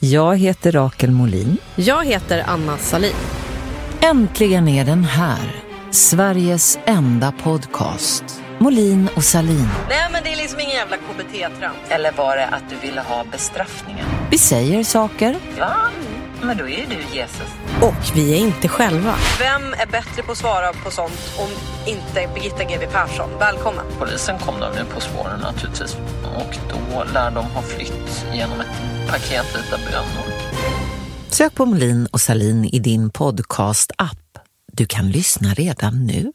Jag heter Rakel Molin. Jag heter Anna Salin. Äntligen är den här. Sveriges enda podcast. Molin och Salin. Nej men det är liksom ingen jävla KBT-trams. Eller var det att du ville ha bestraffningen? Vi säger saker Ja, men då är ju du Jesus. Och vi är inte själva. Vem är bättre på att svara på sånt om inte Birgitta GW Persson? Välkommen. Polisen kom de ju på spåren naturligtvis och då lär de ha flytt genom ett paket vita bönor. Sök på Molin och Salin i din podcast-app. Du kan lyssna redan nu.